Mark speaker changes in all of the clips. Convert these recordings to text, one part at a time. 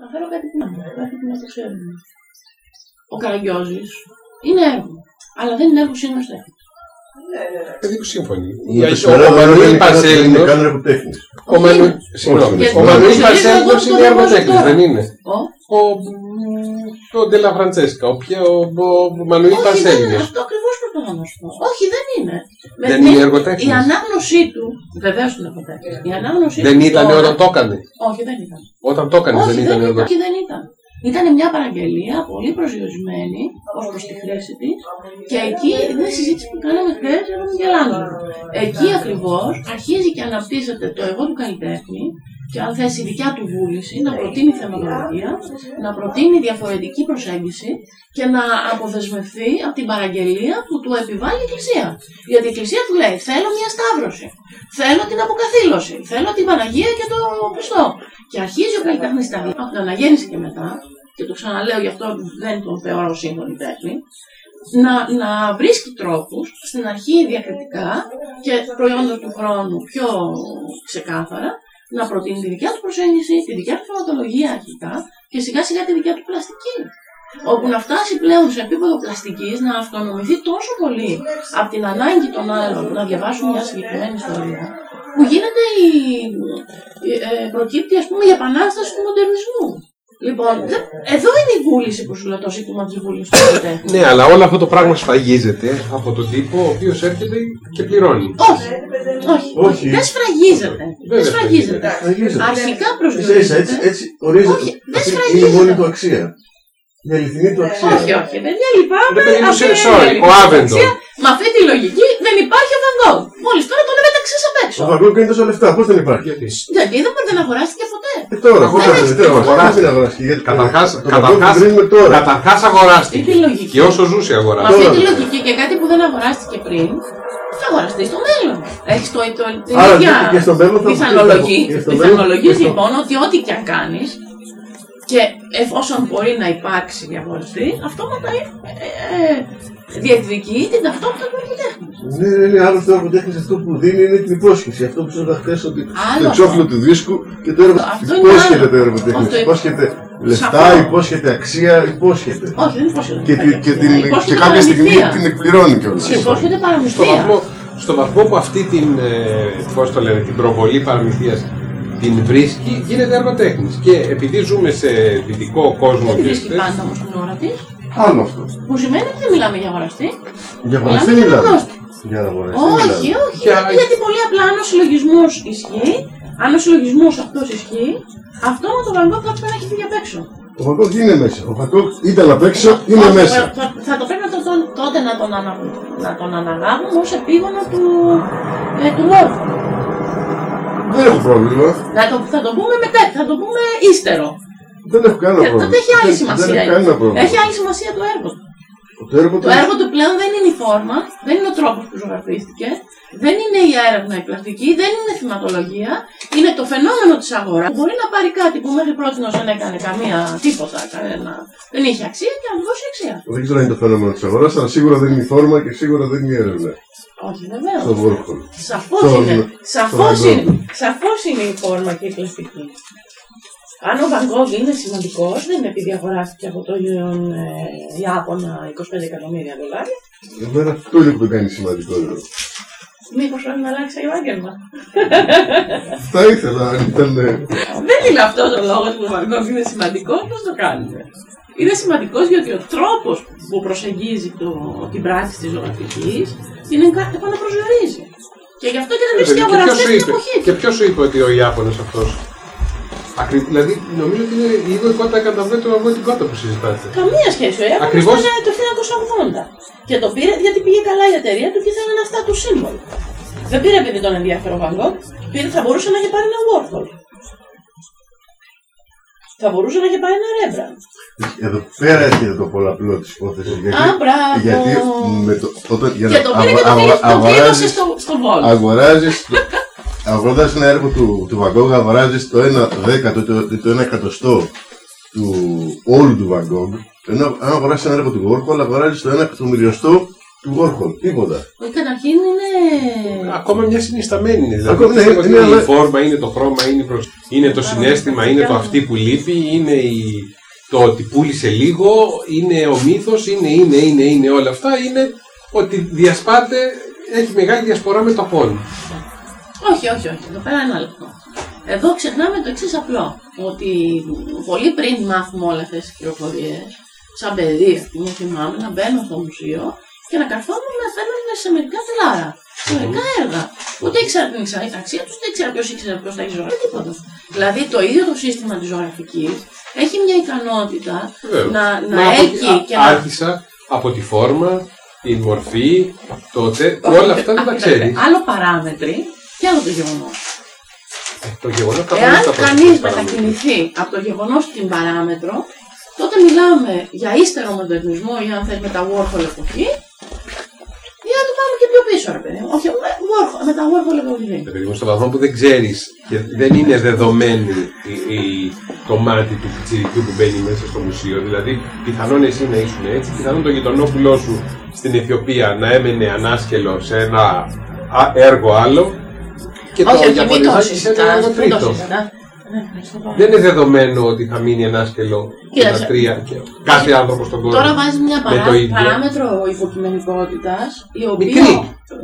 Speaker 1: Να φέρω κάτι δυνατό, κάτι που μας το ξέρουν. Ο Καραγκιόζης είναι έργο, αλλά δεν είναι έργο σύνομα
Speaker 2: Παιδί που σύμφωνοι.
Speaker 3: Είναι
Speaker 2: Γιατί
Speaker 3: το σωρό
Speaker 2: Ο Μανουήλ
Speaker 3: Μανώλη Πασέλινος.
Speaker 2: Παρσέλινος.
Speaker 3: Κάνουν εργοτέχνη.
Speaker 2: Ο Μανου- συγγνώμη.
Speaker 3: Όχι,
Speaker 2: Ο
Speaker 3: όχι.
Speaker 2: Μανουήλ
Speaker 1: Γιατί
Speaker 2: Παρσέλινος
Speaker 1: εγώ
Speaker 2: είναι
Speaker 1: το βάζω
Speaker 2: εργοτέχνη,
Speaker 1: τώρα.
Speaker 2: δεν είναι.
Speaker 1: Ο,
Speaker 2: Ο. Ο Ντελα Φραντσέσκα. Ο, ποιο- ο- ο Μανουήλ
Speaker 1: όχι, δεν είναι
Speaker 2: Παρσέλινος.
Speaker 1: αυτό ακριβώς προσπαθώ να σου πω. Όχι, δεν είναι. Με-
Speaker 2: Δεν
Speaker 1: με-
Speaker 2: είναι
Speaker 1: Η
Speaker 2: εργοτέχνη.
Speaker 1: ανάγνωσή του, βεβαίως είναι εργοτέχνης, η ανάγνωσή
Speaker 2: Δεν
Speaker 1: του
Speaker 2: ήταν
Speaker 1: τώρα-
Speaker 2: όταν το έκανε.
Speaker 1: Όχι, δεν ήταν.
Speaker 2: Όταν το έκανε
Speaker 1: Όχι,
Speaker 2: δεν ήταν εργοτέχνη.
Speaker 1: Όχι, δεν ήταν. Ήταν μια παραγγελία πολύ προσδιορισμένη ω προ τη χρήση τη και εκεί είναι η συζήτηση που κάναμε χθε με τον Γελάνδρο. Εκεί ακριβώ αρχίζει και αναπτύσσεται το εγώ του καλλιτέχνη και αν θες η δικιά του βούληση να προτείνει θεματολογία, να προτείνει διαφορετική προσέγγιση και να αποδεσμευθεί από την παραγγελία που του επιβάλλει η Εκκλησία. Γιατί η Εκκλησία του λέει: Θέλω μια σταύρωση. Θέλω την αποκαθήλωση. Θέλω την Παναγία και το Χριστό. Και αρχίζει ο καλλιτέχνη από την αναγέννηση και μετά, και το ξαναλέω γι' αυτό δεν τον θεωρώ σύγχρονη τέχνη, να, να βρίσκει τρόπου στην αρχή διακριτικά και προϊόντα του χρόνου πιο ξεκάθαρα να προτείνει τη δικιά του προσέγγιση, τη δικιά του θεματολογία αρχικά και σιγά σιγά τη δικιά του πλαστική. Όπου να φτάσει πλέον σε επίπεδο πλαστική να αυτονομηθεί τόσο πολύ από την ανάγκη των άλλων να διαβάσουν μια συγκεκριμένη ιστορία, που γίνεται η, η- ε, προκύπτει ας πούμε η επανάσταση του μοντερνισμού. Λοιπόν, δε- εδώ είναι η βούληση που σου λέω το ζήτημα τη βούληση του καλλιτέχνη.
Speaker 2: Ναι, αλλά όλο αυτό το πράγμα σφαγίζεται από τον τύπο ο οποίο έρχεται και πληρώνει.
Speaker 1: όχι, όχι,
Speaker 3: Όχι.
Speaker 1: Δεν σφραγίζεται. Δεν
Speaker 2: Βέβαια
Speaker 1: σφραγίζεται. Αρχικά προσδιορίζεται.
Speaker 3: Έτσι, έτσι ορίζεται.
Speaker 1: ε, Όχι, δεν
Speaker 3: Αυτή Είναι η
Speaker 1: σφραγίζεται. Ε,
Speaker 3: μόνη του αξία. Η αληθινή του αξία.
Speaker 1: Όχι, όχι, παιδιά, λυπάμαι.
Speaker 2: Ρε παιδί μου,
Speaker 1: αυτή είναι η
Speaker 2: sorry,
Speaker 1: άλλη
Speaker 2: ο
Speaker 1: διαδικασία.
Speaker 2: Άβεντον.
Speaker 1: Με αυτή τη λογική δεν υπάρχει ο Βαγκόγκ. Μόλι τώρα τον έβγαξε απ'
Speaker 3: Ο
Speaker 1: έξω.
Speaker 3: Βαγκόγκ κάνει τόσα λεφτά. Πώ δεν υπάρχει.
Speaker 2: Γιατί.
Speaker 1: Γιατί είδαμε δεν αγοράστηκε ποτέ.
Speaker 3: Ε, Τώρα, πώ
Speaker 1: Αγοράζει,
Speaker 3: δεν
Speaker 1: δεν
Speaker 2: αγοράζει.
Speaker 3: αγοράσει.
Speaker 2: Καταρχάς-
Speaker 3: το Βαγκόγκ
Speaker 2: καταρχάς-
Speaker 3: κρίνουμε τώρα.
Speaker 2: Καταρχά
Speaker 1: Αυτή
Speaker 2: αγοράστηκε.
Speaker 1: τη λογική.
Speaker 2: Και όσο ζούσε
Speaker 1: Με
Speaker 2: αγοράστηκε.
Speaker 1: αυτή
Speaker 3: Τώρα.
Speaker 1: τη λογική και κάτι που δεν αγοράστηκε πριν, θα αγοραστεί στο μέλλον. Έχει το, το, την
Speaker 3: Άρα,
Speaker 1: ίδια
Speaker 3: και- και στο μέλλον θα-
Speaker 1: πιθανολογή.
Speaker 3: και στο μέλλον-
Speaker 1: Πιθανολογεί
Speaker 3: και στο-
Speaker 1: λοιπόν ότι ό,τι και αν κάνει και εφόσον μπορεί να υπάρξει διαβολιστή, αυτόματα ε, ε, διεκδικεί την ταυτότητα του αρχιτέχνη.
Speaker 3: Ναι, ναι, ναι, άλλο θέμα που τέχνει αυτό που δίνει είναι την υπόσχεση. Αυτό που σου είπα χθε ότι
Speaker 1: Άλλο
Speaker 3: το εξώφυλλο
Speaker 1: αυτό.
Speaker 3: του δίσκου και το έργο.
Speaker 1: Αυτό είναι
Speaker 3: Υπόσχεται
Speaker 1: άλλο.
Speaker 3: το έργο τέχνη.
Speaker 1: Αυτό είναι-
Speaker 3: Υπόσχεται
Speaker 1: Σαφώς.
Speaker 3: λεφτά, υπόσχεται αξία, υπόσχεται.
Speaker 1: Όχι, δεν υπόσχεται.
Speaker 4: Και, τη- και,
Speaker 1: Ε,
Speaker 4: την, και
Speaker 1: Υπόσχεται
Speaker 4: κάποια στιγμή
Speaker 1: παραμυθία.
Speaker 4: την εκπληρώνει κιόλα.
Speaker 1: Υπόσχεται
Speaker 2: στο
Speaker 1: παραμυθία.
Speaker 2: βαθμό, στο βαθμό που αυτή την, ε, πώς το λένε, την προβολή παραμυθίας την βρίσκει, γίνεται εργοτέχνης. Και επειδή ζούμε σε δυτικό κόσμο
Speaker 1: Δεν τη
Speaker 2: και
Speaker 1: βρίσκει
Speaker 2: στις-
Speaker 1: πάντα όμω την ώρα τη,
Speaker 3: Άλλο αυτό.
Speaker 1: που σημαίνει ότι δεν μιλάμε για αγοραστή.
Speaker 3: Για
Speaker 1: Μιλάμε
Speaker 3: αγοραστή
Speaker 1: για
Speaker 3: μιλάμε.
Speaker 1: αγοράστη.
Speaker 3: Για να αγοραστεί
Speaker 1: Όχι, όχι.
Speaker 2: Και-
Speaker 1: Γιατί πολύ απλά αν ο συλλογισμό ισχύει, αν ο συλλογισμό αυτό ισχύει, αυτό με τον Βαγκόκ θα πρέπει να έχει φύγει απ' έξω.
Speaker 4: Ο Βαγκόκ είναι μέσα. Ο Βαγκόκ ήταν απ' έξω, είναι
Speaker 1: Όχι,
Speaker 4: μέσα.
Speaker 1: Θα, θα το πρέπει να το- τον- τότε να τον, ανα, να τον αναλάβουμε ω επίγονο του, ε, του λόγου.
Speaker 4: Δεν έχω πρόβλημα.
Speaker 1: Να το, θα το πούμε μετά, θα το πούμε ύστερο.
Speaker 4: Δεν έχω κανένα
Speaker 1: Και
Speaker 4: πρόβλημα.
Speaker 1: Ε, τότε έχει άλλη
Speaker 4: Δεν-
Speaker 1: σημασία.
Speaker 4: Δεν έχω κανένα πρόβλημα.
Speaker 1: Έχει άλλη σημασία το έργο.
Speaker 4: Το έργο
Speaker 1: Το
Speaker 4: του-
Speaker 1: έργο του πλέον δεν είναι η φόρμα, δεν είναι ο τρόπο που ζωγραφίστηκε, δεν είναι η έρευνα η πλαστική, δεν είναι η θυματολογία, είναι το φαινόμενο τη αγορά. Μπορεί να πάρει κάτι που μέχρι πρώτη δεν έκανε καμία τίποτα, κανένα, δεν είχε αξία και να του δώσει αξία.
Speaker 3: Δεν ξέρω αν είναι το φαινόμενο τη αγορά, αλλά σίγουρα δεν είναι η φόρμα και σίγουρα δεν είναι η έρευνα.
Speaker 1: Όχι, βεβαίω.
Speaker 3: Στο Βόρκολ.
Speaker 1: Σαφώ
Speaker 3: Τον-
Speaker 1: είναι. Σαφώ
Speaker 3: τον
Speaker 1: είναι. Σαφώς είναι η φόρμα και η πλαστική. Αν ο Βαγκόγκ είναι σημαντικό, δεν είναι επειδή αγοράστηκε από τον ε, Ιάπωνα 25 εκατομμύρια δολάρια.
Speaker 3: Εμένα αυτό είναι που το κάνει σημαντικό εδώ.
Speaker 1: Μήπω πρέπει να αλλάξει επάγγελμα.
Speaker 3: Θα ήθελα αν ήταν. ε,
Speaker 1: Δεν είναι αυτό ο λόγο που ο Βαγκόγκ είναι σημαντικό, πώ το κάνουμε. Είναι σημαντικό γιατί ο τρόπο που προσεγγίζει το, την πράξη τη ζωγραφική είναι κάτι που αναπροσδιορίζει. Και γι' αυτό και δεν
Speaker 2: Ε,
Speaker 1: βρίσκει
Speaker 2: παιδί, και
Speaker 1: αγοραστέ
Speaker 2: ποιος σου
Speaker 1: στην
Speaker 2: είπε,
Speaker 1: εποχή.
Speaker 2: και ποιος σου είπε ότι ο Ιάπωνας αυτός Ακρι... Δηλαδή, νομίζω ότι είναι λίγο η κότα κατά μέτρο από την κότα που συζητάτε.
Speaker 1: Καμία σχέση. Ο Ιάπωνας
Speaker 2: Ακριβώς.
Speaker 1: ήταν το 1980. Και το πήρε γιατί πήγε καλά η εταιρεία του και ήθελε ένα στάτου σύμβολο. Δεν πήρε επειδή τον ενδιαφέρει ο Van Gogh, πήρε, θα μπορούσε να είχε πάρει ένα Warhol. Θα μπορούσε να είχε πάρει ένα Rembrandt.
Speaker 3: Εδώ πέρα έρχεται το πολλαπλό τη υπόθεση.
Speaker 2: Ε,
Speaker 1: Α, μπράβο.
Speaker 3: Γιατί με το, όταν, για
Speaker 1: Και
Speaker 3: να
Speaker 1: το πήρε και
Speaker 3: αγο-
Speaker 1: το κλείδωσε- το
Speaker 3: αγο-
Speaker 1: κλείδωσε
Speaker 3: αγοράζεις-
Speaker 1: στο, στο Βόλο.
Speaker 3: αγοράζεις το- αγοράζεις ένα έργο του, του Βαγκόγκ, αγοράζεις το ένα δέκατο, το, το ένα εκατοστό του όλου του Βαγκόγκ, ενώ αν αγοράζεις ένα έργο του Γόρκολ, αγοράζεις το ένα εκατομμυριοστό του Warhol, τίποτα.
Speaker 1: Όχι, Ε, καταρχήν είναι.
Speaker 2: Ακόμα μια συνισταμένη είναι. Δηλαδή,
Speaker 4: Ακόμα
Speaker 2: πιστεύω
Speaker 4: είναι-
Speaker 2: ότι
Speaker 4: είναι
Speaker 2: είναι η
Speaker 4: ένα-
Speaker 2: φόρμα, είναι το χρώμα, είναι, η προσ- είναι το συνέστημα, είναι το αυτή που λείπει, είναι η... το ότι πούλησε λίγο, είναι ο μύθο, είναι, είναι, είναι, είναι όλα αυτά. Είναι ότι διασπάται, έχει μεγάλη διασπορά μεταφών.
Speaker 1: Όχι, όχι, όχι. Εδώ πέρα ένα λεπτό. Εδώ ξεχνάμε το εξή απλό. Ότι πολύ πριν μάθουμε όλε αυτέ τι πληροφορίε, σαν παιδί, α πούμε, θυμάμαι να μπαίνω στο μουσείο και να καθόμουν να φαίνονται σε μερικά τελάρα. Σε μερικά έργα. Ούτε ήξερα την εξα- αξία του, ούτε ήξερα ποιο ήξερε ποιο θα έχει ζωγραφεί τίποτα. Δηλαδή το ίδιο το σύστημα τη ζωγραφική έχει μια ικανότητα
Speaker 2: Βεβαίως.
Speaker 1: να, να,
Speaker 2: Μα από-
Speaker 1: έχει
Speaker 2: α-
Speaker 1: και να
Speaker 2: Άρχισα από τη φόρμα, η μορφή, τότε, όλα αυτά δεν τα
Speaker 1: Άκουσα,
Speaker 2: ξέρει.
Speaker 1: Άλλο παράμετροι και άλλο το γεγονό.
Speaker 2: Ε, Το γεγονό καθόλου
Speaker 1: Εάν κανεί μετακινηθεί από το γεγονό στην παράμετρο, τότε μιλάμε για ύστερο μοντερνισμό ή αν θες μετά Warhol εποχή, ή αν το πάμε και πιο πίσω, ρε παιδί. μου. Όχι, με, Warhol, μετά Warhol εποχή.
Speaker 2: Ρε παιδί μου, στο βαθμό που δεν ξέρει και δεν είναι δεδομένη η, η- το μάτι του πιτσιρικιού που μπαίνει μέσα στο μουσείο. Δηλαδή, πιθανόν εσύ να ήσουν έτσι, πιθανόν το γειτονόπουλό σου στην Αιθιοπία να έμενε ανάσκελο σε ένα α- έργο άλλο και το
Speaker 1: Όχι, όχι, μην το
Speaker 2: Ιαπωνέζικο σε ένα
Speaker 1: συζητάς,
Speaker 2: έργο
Speaker 1: μην το
Speaker 2: τρίτο.
Speaker 1: συζητάς. Ναι, στο πάμε.
Speaker 2: Δεν είναι δεδομένο ότι θα μείνει ανάσκελο και
Speaker 1: Κοίταξε.
Speaker 2: ένα τρία και κάθε άνθρωπο στον κόσμο.
Speaker 1: Τώρα βάζει μια
Speaker 2: με το
Speaker 1: παρά-
Speaker 2: ίδιο.
Speaker 1: παράμετρο υποκειμενικότητα, η οποία.
Speaker 2: Μικρή,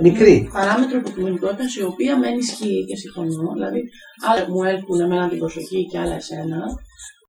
Speaker 2: μικρή.
Speaker 1: Παράμετρο υποκειμενικότητα, η οποία με ενισχύει και συμφωνώ. Δηλαδή, άλλα μου έλκουν εμένα την προσοχή και άλλα εσένα.